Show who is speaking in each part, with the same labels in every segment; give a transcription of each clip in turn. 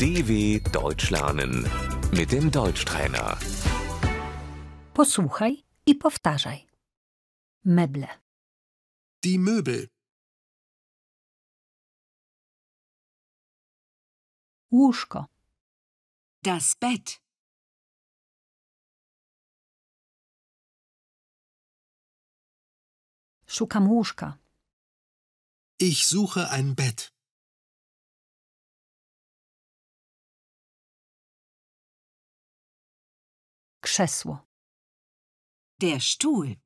Speaker 1: DW Deutsch lernen mit dem Deutschtrainer.
Speaker 2: Posłuchaj i powtarzaj. Meble,
Speaker 3: Die Möbel,
Speaker 2: łóżko,
Speaker 4: Das Bett,
Speaker 2: szukam łóżka,
Speaker 3: ich suche ein Bett,
Speaker 2: krzesło,
Speaker 4: der Stuhl,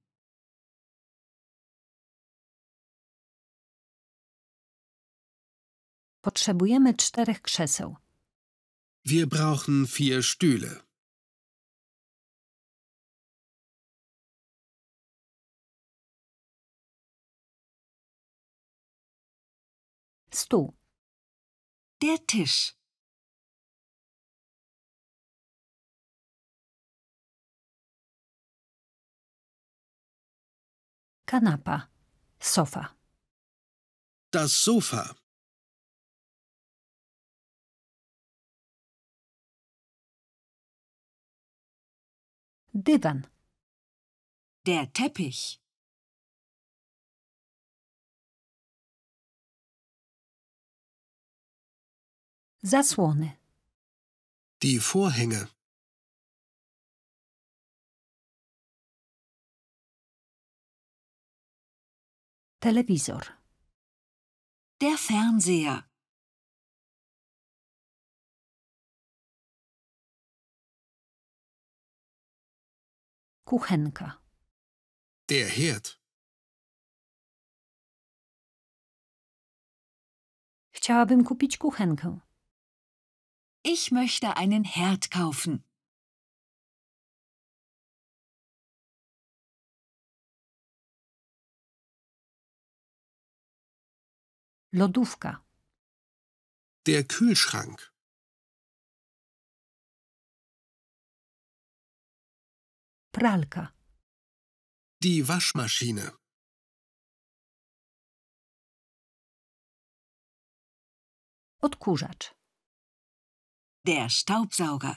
Speaker 2: potrzebujemy czterech krzeseł,
Speaker 3: wir brauchen vier Stühle,
Speaker 2: stół,
Speaker 4: der Tisch,
Speaker 2: kanapa, sofa,
Speaker 3: das Sofa,
Speaker 2: dywan,
Speaker 4: der Teppich,
Speaker 2: zasłony,
Speaker 3: die Vorhänge,
Speaker 2: telewizor,
Speaker 4: der Fernseher,
Speaker 2: kuchenka,
Speaker 3: der Herd,
Speaker 2: Chciałabym kupić kuchenkę.
Speaker 4: ich möchte einen Herd kaufen.
Speaker 2: Lodówka,
Speaker 3: der Kühlschrank,
Speaker 2: pralka,
Speaker 3: die Waschmaschine,
Speaker 2: odkurzacz,
Speaker 4: Der Staubsauger.